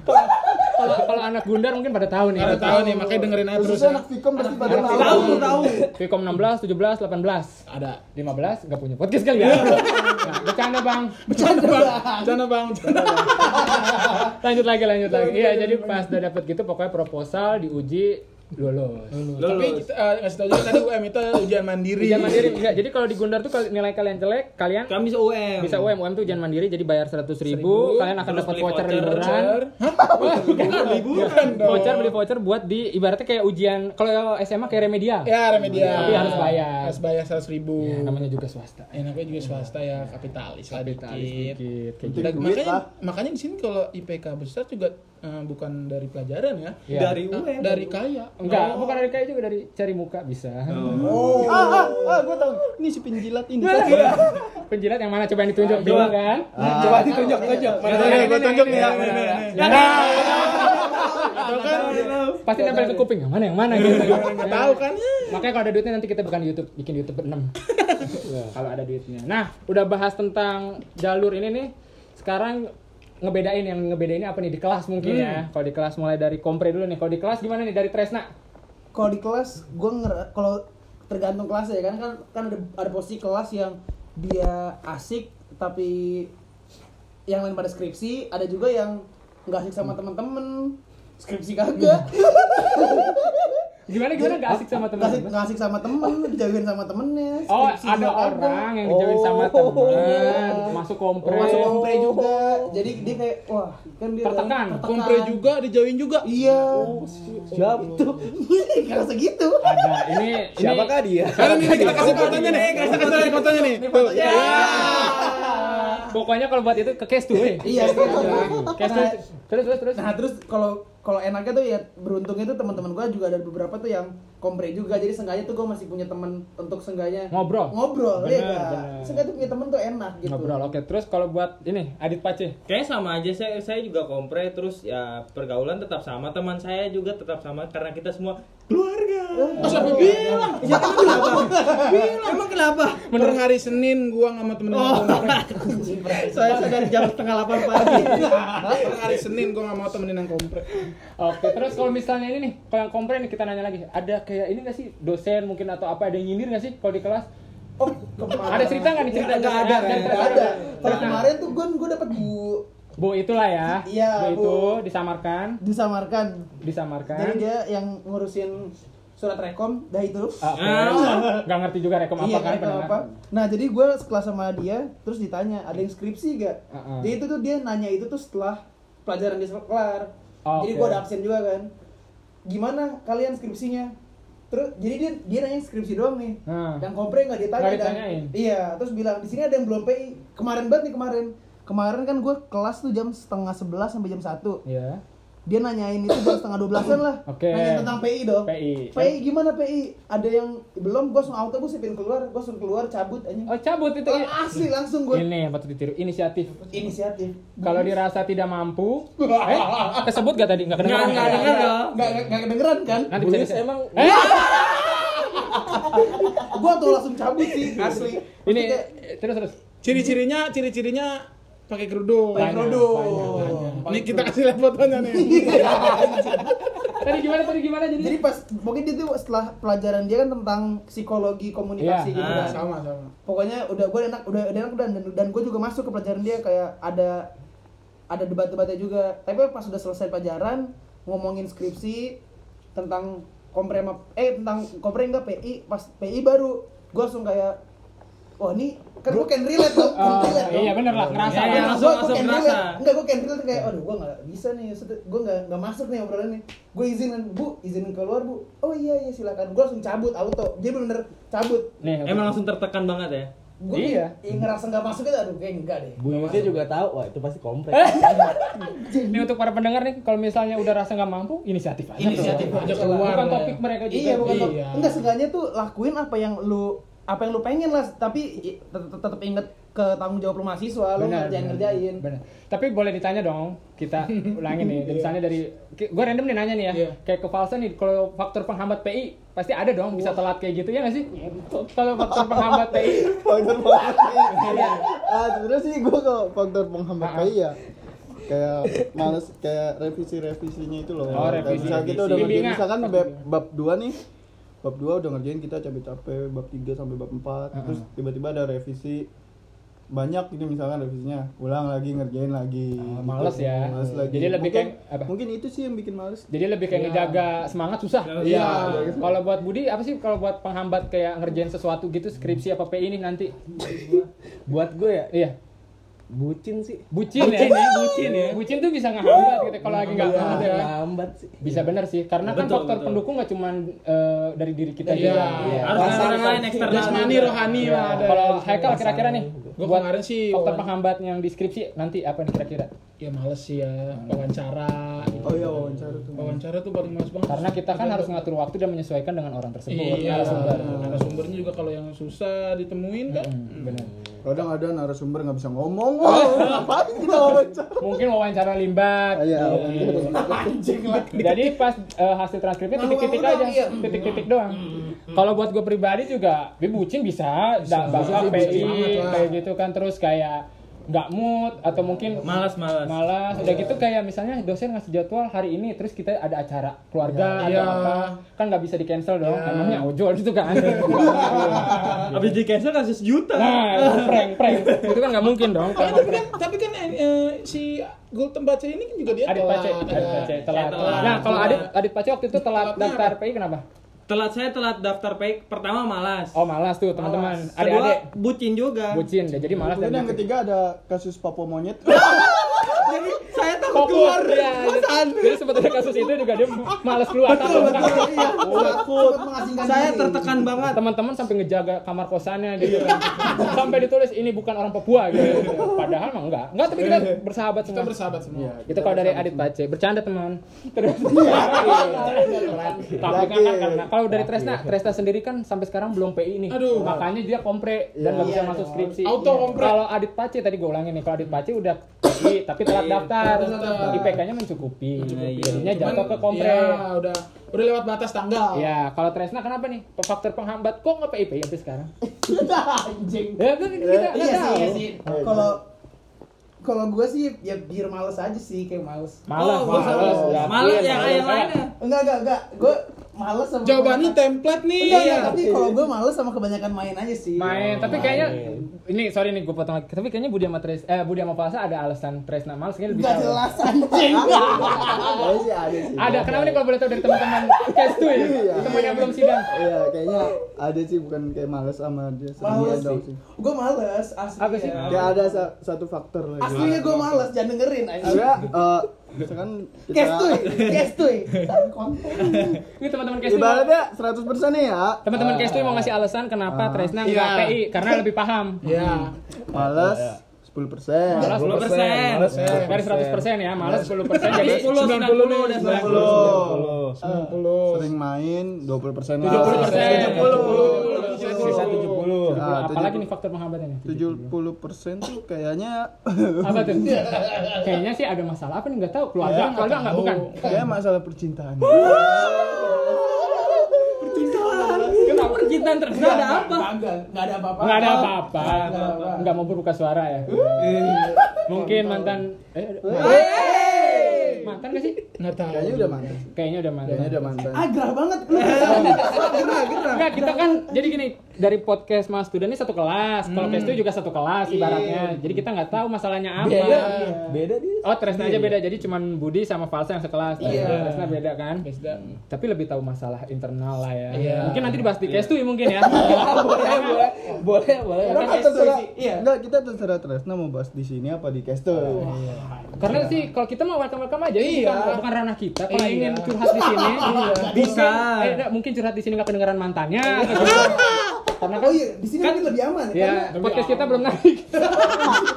A: Kalau kalau anak Gundar mungkin pada tahu nih.
B: Ada tahu nih, makanya dengerin aja terus. ya.
E: Khususnya anak Vicom pasti pada tahu.
C: Tahu tahu.
A: Vkom 16, 17, 18.
B: Ada.
A: 15 nggak punya podcast kali ya. Nah, bercanda, Bang.
B: Bercanda bang. Bercanda bang. Bercanda.
A: lanjut lagi lanjut lagi iya jadi pas udah dapet gitu pokoknya proposal diuji lulus
B: Tapi kita eh, ngasih tau juga tadi UM itu ujian mandiri.
A: ujian mandiri enggak jadi kalau di Gundar tuh kalau nilai kalian jelek kalian
C: Kami bisa UM.
A: bisa UM UM tuh ujian mandiri jadi bayar seratus ribu kalian akan
F: terus
A: dapat
F: beli
A: voucher
F: voucher,
A: liburan
B: Liburan dong.
A: voucher beli voucher buat di ibaratnya kayak ujian kalau SMA kayak remedial
B: Ya remedial.
A: Iya, Tapi harus bayar.
B: Harus bayar seratus ribu.
A: Ya, namanya juga swasta
B: Enaknya juga swasta ya kapitalis lah
A: kapitalis
F: Iya.
B: dikit.
A: dikit kayak gitu.
E: Duit
B: Dan makanya
E: lah.
B: makanya di sini kalau IPK besar juga eh, bukan dari pelajaran ya.
A: Iya.
C: Dari
B: Eh,
C: UM.
B: dari kaya.
A: enggak bukan dari kayak juga dari cari muka bisa
F: Oh.
E: Ah, ah, ah, gue tahu. Ini si penjilat ini.
A: penjilat yang mana coba yang ditunjuk bingung kan
G: coba ditunjuk tunjuk
B: Ah. Mana gue tunjuk nih ya.
A: Nah. pasti nempel ke kuping yang mana yang mana gitu
B: Enggak kan? Iya. tahu kan.
A: Makanya kalau ada duitnya nanti kita bukan YouTube, bikin YouTube berenam. Ya, kalau ada duitnya. Nah, udah bahas tentang jalur ini nih. Sekarang ngebedain yang ngebedainnya apa nih di kelas mungkin ya.
B: Hmm.
A: Kalau di kelas mulai dari kompre dulu nih. Kalau di kelas gimana nih dari Tresna?
D: Kalau di kelas, gue nger kalau tergantung kelas ya kan kan kan ada, ada posisi kelas yang dia asik tapi yang lain pada skripsi, ada juga yang nggak asik sama temen-temen skripsi kagak.
A: Gimana gimana gak asik sama
D: Nggak asik,
A: teman-teman?
D: nggak asik sama temen, dijauhin sama temennya.
A: Oh,
D: skripsi
A: ada
D: juga
A: orang yang dijauhin sama teman, masuk kompre.
D: Oh, masuk kompre juga. Jadi dia kayak wah, kan dia udah-
A: Tertekan.
B: Kompre juga, dijauhin juga.
D: Iya. gitu.
G: Siap tuh.
D: Enggak segitu.
A: Ada. Ini ini
D: kan?
G: Siapakah dia?
B: Kalian ini kita kasih
C: Iya,
B: fotonya nih, kita kasih fotonya, fotonya nih. Tuh.
A: pokoknya kalau buat itu ke case tuh, weh.
D: Iya,
A: Case tuh,
D: iya.
A: iya. Case tuh. Terus terus terus.
D: Nah, terus kalau kalau enaknya tuh ya beruntungnya tuh teman-teman gua juga ada beberapa tuh yang kompre juga. Jadi sengaja tuh gua masih punya temen untuk sengganya
A: Ngobrol.
D: Ngobrol,
A: Bener,
D: ya kan?
A: bener.
D: Sengaja tuh punya temen tuh enak gitu.
A: Ngobrol. Oke, terus kalau buat ini Adit Pace.
F: Kayaknya sama aja saya saya juga kompre terus ya pergaulan tetap sama teman saya juga tetap sama karena kita semua keluarga.
B: Pas Abi bilang,
C: Ya emang kenapa? Emang kenapa?
B: per hari Senin gua sama
A: Oh.
B: temen-temen kompre.
C: Saya sadar jam setengah 8 pagi.
B: Per Nah, hari Senin gua gak mau temenin yang kompre.
A: Oke, terus kalau misalnya ini nih, kalau yang kompre nih kita nanya lagi, ada kayak ini nggak sih dosen mungkin atau apa ada yang nyindir nggak sih kalau di kelas?
D: Oh, kemarin.
A: Ada cerita nggak nih cerita?
C: Nggak ada,
A: Dan
C: nggak
D: Nggak
A: terus-
D: ada. Kalau
A: Nah,
D: kemarin tuh gua gua dapat Bu
A: Bu itulah ya.
D: Iya,
A: Bu
D: Bu.
A: itu disamarkan,
D: disamarkan.
A: disamarkan.
D: Jadi dia yang ngurusin surat rekom, dah itu.
A: Ah, oke. Nggak ngerti juga rekom apa
D: iya,
A: kan
D: rekom
A: pendengar.
D: apa. Nah, jadi gue sekelas sama dia, terus ditanya, ada yang skripsi gak?
A: Heeh.
D: Jadi itu tuh dia nanya itu tuh setelah pelajaran dia sel- kelar.
A: Oh,
D: jadi
A: oke.
D: gue ada absen juga kan. Gimana kalian skripsinya? Terus jadi dia dia nanya skripsi doang nih.
A: Nah.
D: Yang kompre nggak ditanya
A: Nggak
D: dan-
A: ditanyain.
D: Iya, terus bilang di sini ada yang belum PI. Kemarin banget nih kemarin. Kemarin kan gue kelas tuh jam setengah sebelas sampai jam satu.
A: Iya.
D: Dia nanyain itu jam setengah dua belasan lah.
A: Oke.
D: Nanya tentang PI dong.
A: PI.
D: PI gimana PI? Ada yang belum gue langsung auto gue sipin keluar, gue langsung keluar cabut anjing.
A: Oh, cabut itu. ya.
D: Asli langsung gue
A: Ini yang patut ditiru inisiatif.
D: inisiatif.
A: Kalau dirasa tidak mampu, eh, kesebut gak tadi? Nggak kena
F: Nggak, nggak dengar dong.
D: Gak, gak, gak kedengeran kan?
A: Nanti bisa
G: Bulis
A: di-
G: emang
A: Eh,
D: gue tuh langsung cabut sih asli.
A: ini
D: Maksudnya kayak,
A: eh, terus terus.
B: Ciri-cirinya, ciri-cirinya pakai kerudung.
D: Pakai kerudung.
B: Ini kita kasih lihat fotonya nih.
A: Tadi gimana tadi gimana jadi?
D: Jadi pas pokoknya dia tuh setelah pelajaran dia kan tentang psikologi
A: Iya.
D: komunikasi gitu
F: Ah,
D: kan.
B: Sama sama.
D: Pokoknya udah gue enak udah udah enak dan dan, dan gue juga masuk ke pelajaran dia kayak ada ada debat-debatnya juga. Tapi pas udah selesai pelajaran ngomongin skripsi tentang kompre sama- eh tentang kompre enggak PI pas PI baru gue langsung kayak wah ini kan gue can relate dong, can
A: Oh,
D: relate dong.
A: iya bener lah, ngerasa.
F: Iya,
D: Gua-
F: iya,
A: bener.
F: langsung-
D: gua- gua
F: langsung
D: can
F: ngerasa.
D: relate. Enggak, gue cancel tuh kayak, aduh gue gak bisa nih, gue gak, nggak masuk nih obrolan nih Gue izinin, bu, izinin keluar bu Oh iya, iya silakan Gue langsung cabut, auto Dia bener-bener cabut
A: Nih,
F: Emang langsung tertekan banget ya.
D: Gue
A: Iya.
D: ngerasa gak masuk itu, aduh kayak enggak deh
G: Bu Yusnya juga tahu, wah itu pasti kompleks.
E: Eh,
A: Ini untuk para pendengar nih, kalau misalnya udah rasa nggak mampu, inisiatif aja.
D: Inisiatif
A: keluar.
D: aja
B: keluar.
A: Bukan topik mereka juga.
D: Iya, bukan
B: Iya.
D: Enggak, seenggaknya tuh lakuin apa yang lu apa yang lu pengen lah tapi i- tet- tet- tetap inget ke tanggung jawab lu mahasiswa lu
A: Benar,
D: ngerjain
A: benar,
D: ngerjain
A: benar. Tapi boleh ditanya dong, kita ulangin nih. Misalnya dari, gue random nih nanya nih ya,
B: Iya.
A: kayak kefalsan nih, kalau faktor penghambat PI pasti ada dong, bisa telat kayak gitu ya nggak sih? Kalau faktor penghambat PI,
E: faktor penghambat iya ah sebenarnya sih gue kalau faktor penghambat
A: Ah.
E: kayak ya kayak males kayak revisi revisinya itu loh
A: Oh,
E: Kayak
A: revisi,
E: misalnya kita
A: revisi.
E: udah ngerjain
A: Bimbingan.
E: misalkan bab, bab 2 nih bab 2 udah ngerjain kita capek-capek bab 3 sampai bab 4
A: Ah,
E: terus tiba-tiba ada revisi banyak gitu misalkan revisinya ulang lagi ngerjain lagi
A: Ah,
E: Gitu.
A: males ya.
E: males lagi
A: Jadi lebih
E: mungkin,
A: kayak apa?
E: mungkin itu sih yang bikin males
A: jadi lebih kayak ngejaga semangat susah.
F: Iya.
A: Kalau buat Budi, apa sih kalau buat penghambat kayak ngerjain sesuatu gitu, skripsi apa PI ini nanti?
G: Buat gue ya,
A: Iya.
G: bucin sih.
A: Bucin,
F: Bucin
A: ya.
F: ya, bucin ya.
A: Bucin tuh bisa ngehambat gitu kalau lagi nggak
G: Nggak
A: ada.
G: Lambat sih.
A: Bisa bener sih, karena kan
F: Betul,
A: faktor
F: betul.
A: pendukung nggak cuman eh, dari diri kita
B: Iya.
A: juga.
G: Iya.
F: Harus ada orang lain eksternal.
B: Jasmani, rohani lah ada.
A: Iya. Kalau Haikal kira-kira nih,
B: Gua
A: buat
B: kemarin sih
A: faktor
B: wawan-
A: penghambat yang deskripsi nanti apa nih kira-kira?
B: ya males sih
A: Iya.
B: ya wawancara gitu.
E: oh iya wawancara tuh
B: wawancara tuh paling males banget
A: Karena kita kan harus ngatur waktu dan menyesuaikan dengan orang tersebut.
B: iya
A: narasumber.
B: narasumbernya juga kalau yang susah ditemuin kan
A: Benar.
E: kadang ada narasumber nggak bisa ngomong wah ngapain kita wawancara
A: Mungkin wawancara limbat.
E: Ah, iya.
A: Jadi pas eh, hasil transkripnya
D: Malu-malu
A: titik-titik
D: doang,
A: aja,
D: iya.
A: titik-titik doang. Kalau buat gue pribadi juga, dia bucin bisa, da- bahasa PI, kayak gitu kan terus kayak nggak mood atau mungkin
F: Malas malas.
A: malas udah gitu kayak misalnya dosen ngasih jadwal hari ini terus kita ada acara keluarga
B: Iya.
A: atau apa kan nggak bisa di cancel dong
B: Iya.
A: emangnya ojol itu kan
F: Habis di cancel kasih sejuta.
A: nah itu prank prank itu kan nggak mungkin dong
B: Ah, tapi kan tapi kan eh, eh, si Gul Tembaca ini kan juga dia
A: adit pace
B: Iya. telat,
A: adit
B: ada.
A: pace telat
F: telat.
A: nah kalau adit adit pace waktu itu telat
B: Telatnya
A: daftar PI kenapa
C: Telat saya telat daftar PAIK pertama malas.
A: Oh malas tuh teman-teman. Adik-adik
C: Kedua bucin juga.
A: bucin ya, jadi malas
E: Kemudian
A: dan
E: yang ketiga ada kasus Papua monyet.
C: Jadi saya takut
A: Fokus,
C: keluar
A: iya.
C: kosan.
A: Jadi sebetulnya kasus itu juga dia malas keluar takut.
D: Iya, takut mengasingkan
C: Saya
D: diri.
C: tertekan banget.
A: Teman-teman sampai ngejaga kamar kosannya gitu kan. sampai ditulis ini bukan orang Papua gitu. Padahal mah enggak. Enggak tapi kita bersahabat
B: Kita
A: semua.
B: bersahabat semua.
A: itu kalau dari Adit Pace, bercanda teman. Terus tapi kan kan- karena kalau dari Tresna, Tresna sendiri kan sampai sekarang belum PI nih.
B: Aduh.
A: Makanya dia kompre dan nggak bisa masuk skripsi.
B: Auto kompre.
A: Kalau Adit Pace tadi gue ulangin nih, kalau Adit Pace udah PI tapi telat daftar. IPK-nya Iya. mencukupi. Jadinya jatuh ke kompre.
B: Iya, udah udah lewat batas tanggal.
A: Ya, kalau Tresna kenapa nih? Faktor penghambat kok nggak PI PI ya sampai sekarang?
D: Anjing.
A: Ya kan kita nggak
D: Iya sih,
A: tahu. Oh,
D: iya sih. Kalau kalau gue sih ya biar males aja sih, kayak males.
C: Oh,
A: Malas, malas,
C: malas.
A: malas.
C: Malas
A: Iya,
C: yang
A: malas.
C: yang lainnya.
D: Enggak, enggak, enggak. Gue males sama
B: Jawabannya template nih.
D: Iya, iya, tapi kalau gue males sama kebanyakan main aja sih.
A: main tapi kayaknya ini sorry nih gue potong lagi tapi kayaknya Budi sama Tres eh Budi sama Palsa ada alasan Tresna males kayaknya lebih
D: Gak
A: tahu.
D: jelas anjing.
E: Kayaknya sih ada sih.
A: ada kenapa nih kalau boleh tahu dari teman-teman case tuh ya
E: Iya.
A: teman yang belum sidang
E: Iya, kayaknya ada sih bukan kayak males sama dia sendirian
D: males
E: dong
D: sih.
E: sih.
D: Gue males asli.
A: Iya
D: ya.
A: Apa sih?
E: Kayak ada sa- satu faktor lagi.
D: Aslinya gue males, jangan dengerin anjing.
E: Enggak, eh misalkan kita
D: Kestuy, kestuy. Tapi konten.
A: ini teman-teman case tuh
E: ibaratnya 100% nih ya.
A: teman-teman case tuh mau ngasih alasan kenapa Tresna nggak
B: Iya.
A: PI karena lebih paham
B: Iya.
E: Males
A: Iya,
E: 10%.
A: Malas
C: 10%.
G: Males
A: dari 100% ya malas 10% jadi
C: 10, 90 udah
E: 90.
B: 90.
E: Sering main 20% lah.
A: 70%.
G: 70. 70.
E: Ah,
A: apalagi
E: 70.
A: nih faktor penghambatannya
E: 70% tuh kayaknya
A: apa tuh kayaknya sih ada masalah apa nih nggak tahu keluarga keluarga nggak bukan
E: kayak masalah percintaan.
A: kenapa
C: Percintaan terkenal ada apa?
D: Enggak, enggak ada apa-apa.
A: Nggak ada apa-apa.
D: Nggak ada apa-apa.
A: Nggak mau berbuka suara ya. Mungkin mantan eh mantan gak sih?
B: Nggak tahu.
E: Kayaknya udah mantan. sih.
A: Kayaknya udah mantan.
E: Kayaknya udah mantan.
D: Ah, gerah banget. Lu gerah, gerah.
A: Enggak, kita kan jadi gini, dari podcast Mas Duda ini satu kelas, kalau Kes itu juga satu kelas ibaratnya. Jadi kita nggak tahu masalahnya apa.
D: Iya.
G: Beda dia.
A: Oh, Tresna aja beda. Jadi cuman Budi sama Falsa yang sekelas. Tresna beda kan?
B: Beda.
A: Tapi lebih tahu masalah internal lah ya.
B: Iya.
A: Mungkin nanti dibahas di Kes tuh mungkin ya. Kan
G: Boleh, boleh.
E: Kenapa
D: Kestuy
E: terserah?
D: sih, iya.
E: Enggak, kita terserah Tresna mau bahas di sini apa di Kesto. iya.
A: Karena sih kalau kita mah welcome welcome aja, ini
B: Iya.
A: bukan, bukan ranah kita. Kalau
B: Iya.
A: ingin curhat di sini,
C: Bisa.
A: Eh, enggak, mungkin curhat di sini nggak kedengeran mantannya. gitu. atau gimana. Karena kan
D: Oh iya, di sini mungkin lebih aman
A: ya
D: karena
A: podcast kita belum naik.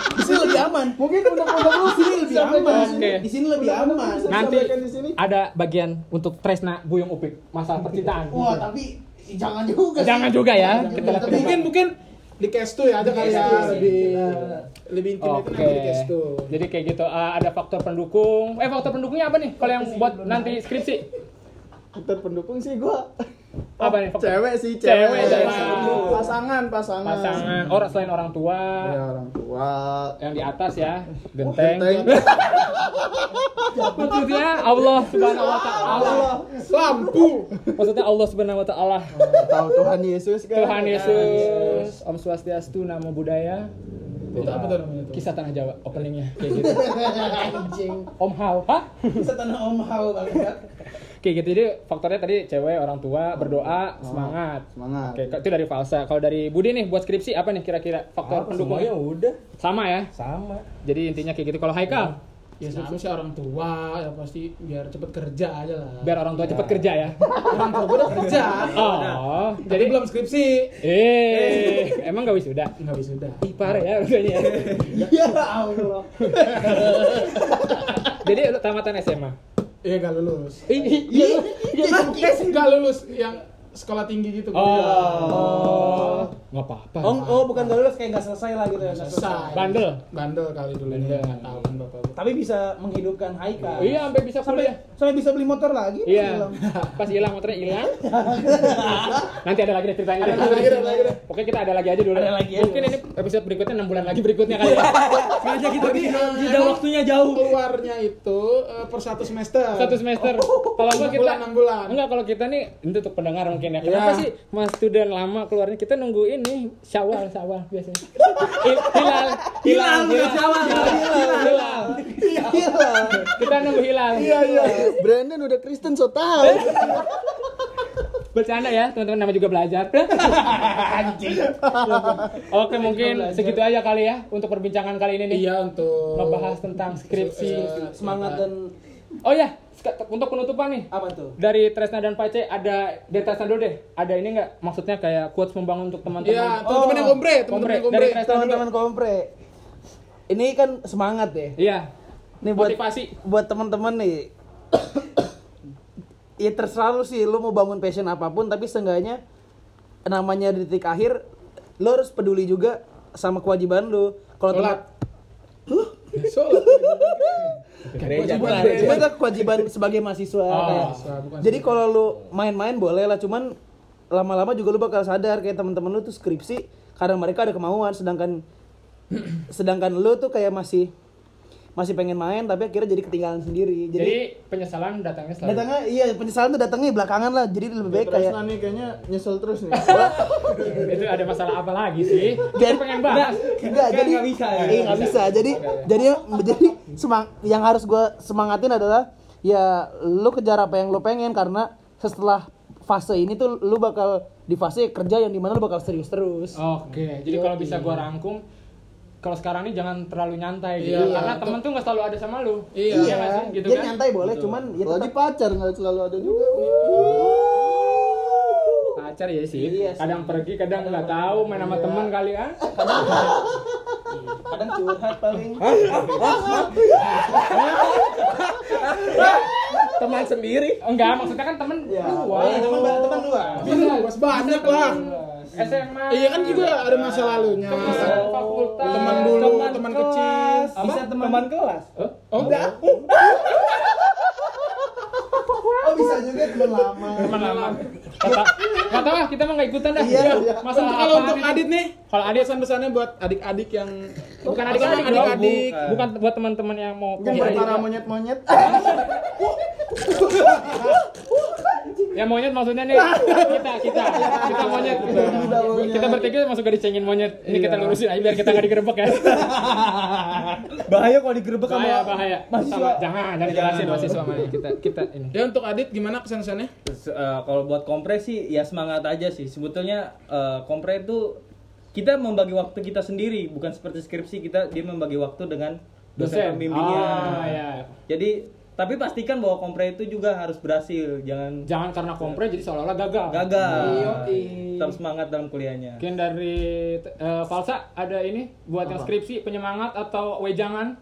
D: di sini lebih aman. Mungkin
E: Kan
D: undang-undang lu sini lebih aman.
A: Oke.
D: Di sini lebih aman.
A: Nanti
E: Sampaikan di sini.
A: ada bagian untuk Tresna Buyung Upik masalah percintaan.
D: Wah, tapi jangan juga sih.
A: Jangan juga ya. Kita lihat ke depan.
B: Mungkin mungkin di case tuh ya ada kali ya lebih lebih intim itu
A: Oke.
B: nanti di case tuh.
A: Jadi kayak gitu eh, ada faktor pendukung. Eh faktor pendukungnya apa nih? Kalau yang buat nanti skripsi
E: Faktor pendukung sih gua
A: apa nih? Faktor?
E: cewek sih,
A: Cewek,
E: cewek.
A: cewek.
E: Pasangan, pasangan.
A: Pasangan orang selain orang tua
E: Ya, orang tua.
A: yang di atas ya genteng.
E: Genteng.
A: Maksudnya Allah Subhanahu wa taala.
B: Lampu.
A: Maksudnya Allah Subhanahu wa taala.
E: Tahu Tuhan Yesus kan?
A: Tuhan Yesus, Om Swastiastu, Namo Buddhaya.
B: Itu apa tuh namanya tuh?
A: Kisah tanah Jawa openingnya kayak gitu. Om Hao, hah?
D: Bisa tanah om hau banget.
A: Kayak gitu. Jadi faktornya tadi cewek, orang tua, berdoa, semangat.
E: Semangat.
A: Oke, itu dari Falsa. Kalau dari Budi nih buat skripsi apa nih kira-kira faktor
G: Semuanya
A: pendukungnya?
G: udah
A: Sama ya.
G: sama.
A: Jadi intinya kayak gitu. Kalau Haikal,
B: Ya sama sih orang tua ya pasti biar cepet kerja aja lah.
A: biar orang tua cepet kerja ya.
B: orang tua gua Ya udah kerja.
A: Oh,
B: Jadi
A: jadi
B: belum skripsi.
A: eh emang gak wisuda?
B: Enggak bisa udah.
A: Ipar ya urusannya ya.
D: Ya Allah.
A: Jadi lu tamatan SMA.
B: Iya enggak lulus.
A: Ih, ih, iya.
B: Enggak lulus yang sekolah tinggi gitu.
A: Oh. Enggak apa-apa.
C: Oh, oh bukan gak lulus kayak nggak selesai lah gitu ya. nggak
B: Selesai.
A: Bandel.
B: Bandel kali dulu ya, nggak tahu kan bapak gua.
C: Tapi bisa menghidupkan Haikal.
A: Iya, sampai bisa
D: Sampai
A: kuliah.
D: sampai bisa beli motor lagi.
A: Iya.
D: Hilang.
A: Pas hilang motornya hilang. Nanti ada lagi deh ceritanya. Ada
B: lagi, ada lagi deh.
A: Oke, kita ada lagi aja dulu.
C: Ada lagi ya,
A: Mungkin
C: dulu.
A: ini episode berikutnya 6 bulan lagi berikutnya kali. ya.
C: Sengaja kita bikin jeda
B: emang-
C: waktunya jauh.
B: Keluarnya itu eh, per satu semester.
A: Satu semester. Kalau
B: Enam
A: enggak kita
B: bulan, enam bulan.
A: Enggak, kalau kita nih ini untuk pendengar mungkin ya. Kenapa
B: Iya.
A: sih Mas Tudan lama keluarnya? Kita nunggu ini Syawal, Syawal biasanya. Hil- Hilal,
C: Hilal, bukan Syawal.
A: hilal, hilal.
E: Iya.
A: Kita nunggu hilal. Eh,
E: Iya, iya. Brandon udah Kristen so tahu.
A: Bercanda ya, teman-teman nama juga belajar. Oke, mungkin segitu aja kali ya untuk perbincangan kali ini nih.
B: Iya untuk
A: Membahas tentang skripsi.
D: Eh,
B: Iya,
H: Semangat
B: iya.
H: dan
A: Oh ya, sek- untuk penutupan nih.
H: apa tuh?
A: Dari Tresna dan Pace ada dari Tresna dulu deh. Ada ini nggak? Maksudnya kayak quotes membangun untuk
B: Iya,
A: teman-teman.
B: teman-teman yang kompre, teman-teman yang
A: Kompre,
B: kompre.
A: Oh, dari Tresna dulu.
D: Teman-teman kompre. Ini kan semangat ya.
A: Iya.
D: Nih buat
A: Motivasi.
D: buat teman-teman nih. ya terserah lu sih lu mau bangun passion apapun tapi seenggaknya namanya di titik akhir lu harus peduli juga sama kewajiban lu. Kalau
B: Sholat.
D: teman-
B: Sholat.
G: Gereja.
D: Bukan, cuma itu kewajiban sebagai mahasiswa
A: Iya, Oh,
D: kayak.
B: mahasiswa, bukan
D: Jadi kalau lu main-main boleh lah, cuman lama-lama juga lu bakal sadar kayak teman-teman lu tuh skripsi karena mereka ada kemauan sedangkan sedangkan lu tuh kayak masih masih pengen main tapi akhirnya jadi ketinggalan sendiri.
A: Jadi
D: Jadi,
A: penyesalan datangnya selalu.
D: datangnya iya penyesalan tuh datangnya belakangan lah. Jadi lebih baik kayak
E: Tresna nih kayaknya nyesel terus nih.
A: Itu ada masalah apa lagi sih?
D: Dan-
A: Aku pengen bahas.
D: Enggak,
F: Kan
D: jadi
F: nggak bisa ya.
D: Iya, nggak bisa. Jadi jadi jadi semang yang harus gua semangatin adalah ya lu kejar apa yang lu pengen karena setelah fase ini tuh lu bakal di fase kerja yang dimana lu bakal serius terus.
A: Oh, Oke, jadi kalau bisa gua rangkum kalau sekarang nih jangan terlalu nyantai gitu.
B: Iya.
A: Karena temen tuh nggak selalu ada sama lu.
B: Iya.
A: nggak sih? Gitu
D: dia
A: kan?
D: nyantai boleh, cuman ya
E: Lagi
D: tetap
E: pacar nggak selalu ada juga.
A: Pacar ya sih.
D: Iya sih.
A: Kadang pergi, kadang nggak tahu main sama temen kali ah.
D: kadang curhat paling.
G: Teman sendiri.
A: Enggak, maksudnya kan temen dua.
D: teman teman dua.
B: Iya, bos banyak lah.
A: SMA.
B: Iya kan juga ada masa lalunya.
A: teman fakultas.
B: Teman Oh, dulu, teman kecil.
D: Bisa teman, kelas.
A: Eh?
B: Oh, enggak.
E: Oh bisa juga teman lama.
A: Teman lama. Kata, nggak tahu ah, kita mah nggak ikutan dah.
E: Iya, iya.
A: Masalah
B: Untuk- kalau
A: apaan
B: untuk
A: ini?
B: Adit nih,
A: Kalau Adit
B: pesan-pesannya buat adik-adik yang
A: bukan
B: Atau
A: adik-adik, dong.
B: adik-adik.
A: bukan buat teman-teman yang mau
E: Mungkin
A: komplain.
E: perkara monyet-monyet.
A: Ya monyet maksudnya nih kita kita kita monyet. Iya.
E: Kita monyet.
A: Kita bertiga masuk gak dicengin monyet. Ini kita lurusin aja biar kita nggak digerebek ya.
F: Bahaya kalau digerebek
A: Bahaya bahaya. Sama, jangan jangan jelasin mahasiswa mana kita kita ini.
B: Ya untuk Adit gimana pesan-pesannya?
F: Terus, eh, kalau buat kompre sih ya semangat aja sih. Sebetulnya eh, kompre itu kita membagi waktu kita sendiri, bukan seperti skripsi kita dia membagi waktu dengan dosen, pembimbingnya.
A: Ah,
G: iya.
A: ya.
F: Jadi tapi pastikan bahwa kompre itu juga harus berhasil, jangan
A: Jangan karena kompre jadi seolah-olah gagal.
F: gagal.
A: Iya.
F: Tetap semangat dalam kuliahnya.
A: Mungkin dari eh, Falsa ada ini buat yang skripsi penyemangat atau wejangan?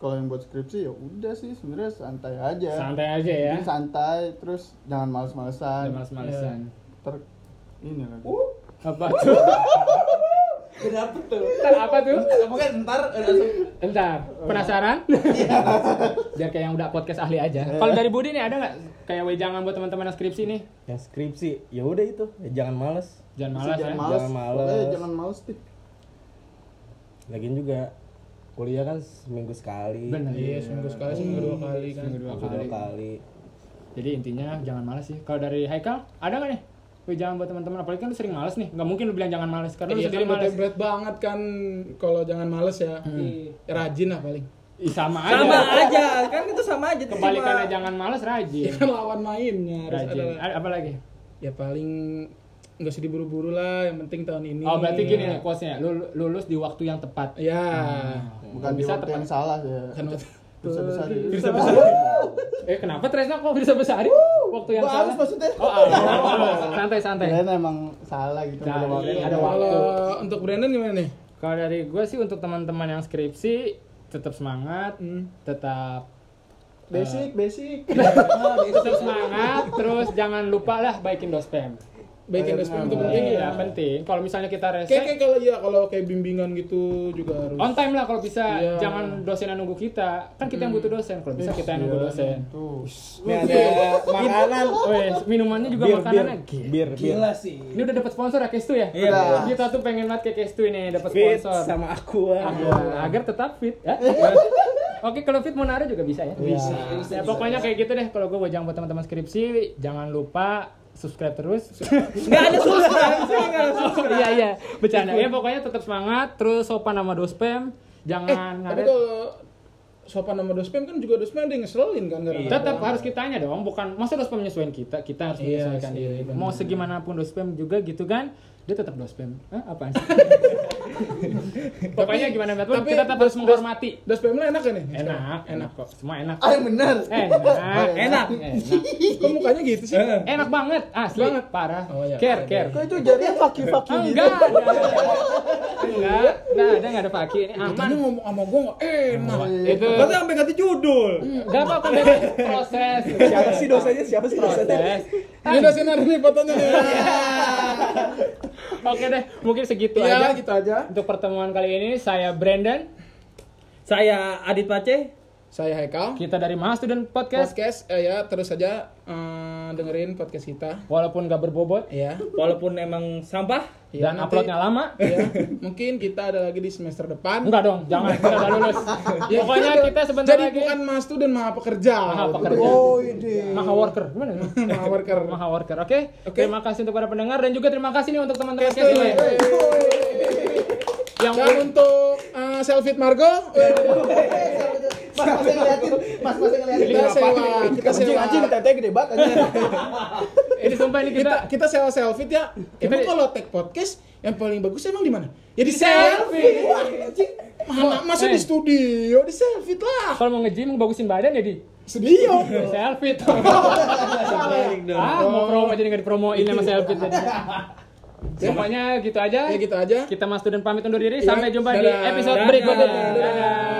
E: Kalau yang buat skripsi ya udah sih sebenarnya santai aja.
A: Santai aja ya.
E: Jadi santai terus jangan males-malesan.
A: Jangan males-malesan.
E: Ter ini lagi.
G: Uh,
A: Apa tuh?
D: Kenapa tuh?
A: Ntar apa tuh?
D: Bukan ntar langsung
A: Entar, penasaran? Biar kayak yang udah podcast ahli aja. Kalau dari Budi nih ada nggak kayak wejangan buat teman-teman yang skripsi nih?
G: Yang skripsi, ya udah itu, Ya, jangan males.
A: Jangan
E: Terus
A: malas ya. Iya.
E: jangan males.
G: Jangan males.
E: Pokoknya jangan males sih.
G: Lagian juga kuliah kan seminggu sekali,
A: Bener.
B: Iya, seminggu sekali, seminggu dua kali kan.
A: Hmm. Seminggu dua
G: seminggu
A: kali.
G: dua kali.
A: Jadi intinya jangan malas sih. Kalau dari Haikal, ada nggak nih? Wejangan buat teman-teman apalagi kan lu sering malas nih. Nggak mungkin lu bilang jangan malas karena lu
B: Iya kan
A: sendiri malas.
B: berat, berat banget kan kalau jangan males ya.
A: Hmm.
B: Ya, Rajin lah paling.
A: Ih, sama aja.
F: Sama aja, kan itu sama aja.
A: Kebalikannya
F: Cuma-
A: jangan malas
B: Ya
A: rajin.
B: kan lawan mainnya harus
A: Iya. Rajin.
B: ada.
A: Ada apa lagi?
B: Ya paling nggak usah diburu-buru lah, yang penting tahun ini.
A: Oh, berarti gini nih quotes-nya. Lu- Lulus di waktu yang tepat.
B: Ya.
A: Hmm.
E: Bukan di
A: Bisa
E: waktu yang salah ya.
B: Kan waktu-
E: Bisa bisa di.
B: Bisa besar.
A: Eh, kenapa Tresna kok bisa besari? Waktu yang
E: Bagus
A: salah.
E: maksudnya.
A: Oh, ah, santai santai.
E: Kalian emang salah gitu.
A: Nah,
E: pada waktu.
A: iya. Ada waktu.
B: Kalau untuk Brandon gimana nih?
A: Kalau dari gue sih untuk teman-teman yang skripsi tetap semangat,
B: Hmm.
A: tetap
E: Basic basic.
B: Oh,
A: tetap semangat, terus jangan lupa lah baikin dospem.
B: Baik yang SPM itu penting ya.
A: Iya penting. Kalau misalnya kita
B: Kayak
A: rese,
B: kayak kalau ya kalau kayak bimbingan gitu juga harus.
A: on time lah kalau bisa.
B: Iya. Hmm.
A: Jangan dosen yang nunggu kita. Kan kita yang butuh dosen. Kalau bisa kita yang
E: Iya,
A: nunggu
B: iya.
A: dosen.
E: Tuh.
G: Ini ada makanan.
A: Wes, minumannya juga
G: Bir, bir,
A: makanannya. Gila.
G: bir, bir.
D: gila sih.
A: Ini udah dapat sponsor ya Kestu ya?
F: Iya.
A: Kita tuh pengen banget kayak Kestu ini dapat
G: Fit
A: sponsor.
G: sama aku. ah.
A: Agar, agar tetap fit ya. Oke, kalau fit mau naruh juga bisa ya.
E: Bisa.
A: Ya, pokoknya kayak gitu deh kalau gue bojang buat teman-teman skripsi jangan lupa subscribe terus.
F: Nggak ada subscribe, saya nggak ada subscribe.
A: iya iya, bercanda. Ya pokoknya tetap semangat, terus sopan sama dospem,
B: Eh,
A: jangan
B: tapi
A: ngaret.
B: kalau sopan sama dospem kan juga dospem ada yang ngeselin kan kadang-kadang.
A: Tetap harus kitanya dong, bukan masa dospem menyesuaikan kita, kita harus
B: Iya
A: menyesuaikan
B: sih,
A: diri.
B: benar.
A: Mau segimanapun dospem juga gitu kan, dia tetap dospem. Hah, apaan sih? Pokoknya gimana pun
B: tapi
A: kita tetap harus menghormati.
B: Dospem lo enak kan ya?
A: Enak, enak kok. Semua enak.
D: Ah, yang bener.
A: Enak,
F: Enak.
A: enak.
B: Kok mukanya gitu sih?
A: Enak banget, asli. Banget. Parah.
B: Oh, iya.
A: Care, care.
E: Kok itu jadinya fucking fucking gitu?
A: Enggak ada. Enggak, enggak ada, enggak ada paki. Ini aman.
B: Tadi ngomong sama gue gak enak.
A: Itu
F: Berarti sampai ganti judul.
A: enggak apa-apa bebas proses.
G: Siapa sih dosanya? Siapa sih dosanya?
A: Proses.
B: Ini udah sinar nih fotonya nih.
A: Iya. Oke deh, mungkin segitu
B: Iya,
A: aja
B: gitu aja.
A: untuk pertemuan kali ini. Saya Brandon,
F: Saya Adit Pace.
B: Saya Haikal.
A: kita dari Mahasiswa Student Podcast.
B: Podcast eh, ya terus aja eh, dengerin podcast kita.
A: Walaupun gak berbobot
B: Ya.
F: Walaupun emang sampah,
B: Ya,
A: dan
B: nanti-
A: uploadnya lama,
B: ya. Mungkin kita ada lagi di semester depan.
A: enggak dong, jangan kita udah lulus.
B: Ya,
A: Pokoknya
B: udah-
A: kita sebentar
B: jadi
A: lagi
B: bukan mas tuh dan maha pekerja. Gitu.
A: maha pekerja,
E: Oh, ide.
A: maha worker, gimana? ya?
B: Maha worker.
A: Maha worker, oke? Terima kasih untuk para pendengar dan juga terima kasih nih untuk teman-teman
B: Oke,
A: Cashboy. yang
B: Dan untuk eh, Selfit Margo,
A: Iya,
D: Mas masih ngeliatin, mas masih ngeliatin.
B: kita sewa, kita
E: Anjing
B: sewa,
E: anjing tete gede banget anjing.
A: ini sumpah ini
B: kita
A: kita
B: kita sewa Selfit ya. Emang
A: Kita-
B: kalau tag podcast yang paling bagus emang di mana? Ya di Selfit. Wah, anjing. Mana masa di
A: Eh.
B: studio, di Selfit lah.
A: kalau mau nge-gym bagusin badan jadi
B: Studio.
A: selfie tuh.
F: balik dong.
A: ah, mau promo jadi nggak dipromoin sama selfie tadi. Pokoknya gitu aja.
B: ya gitu aja.
A: Kita Mas Student pamit undur diri.
B: Iya.
A: Sampai jumpa di
B: Dadah.
A: episode
B: Dadah.
A: berikutnya.
B: Dadah.
A: Dadah.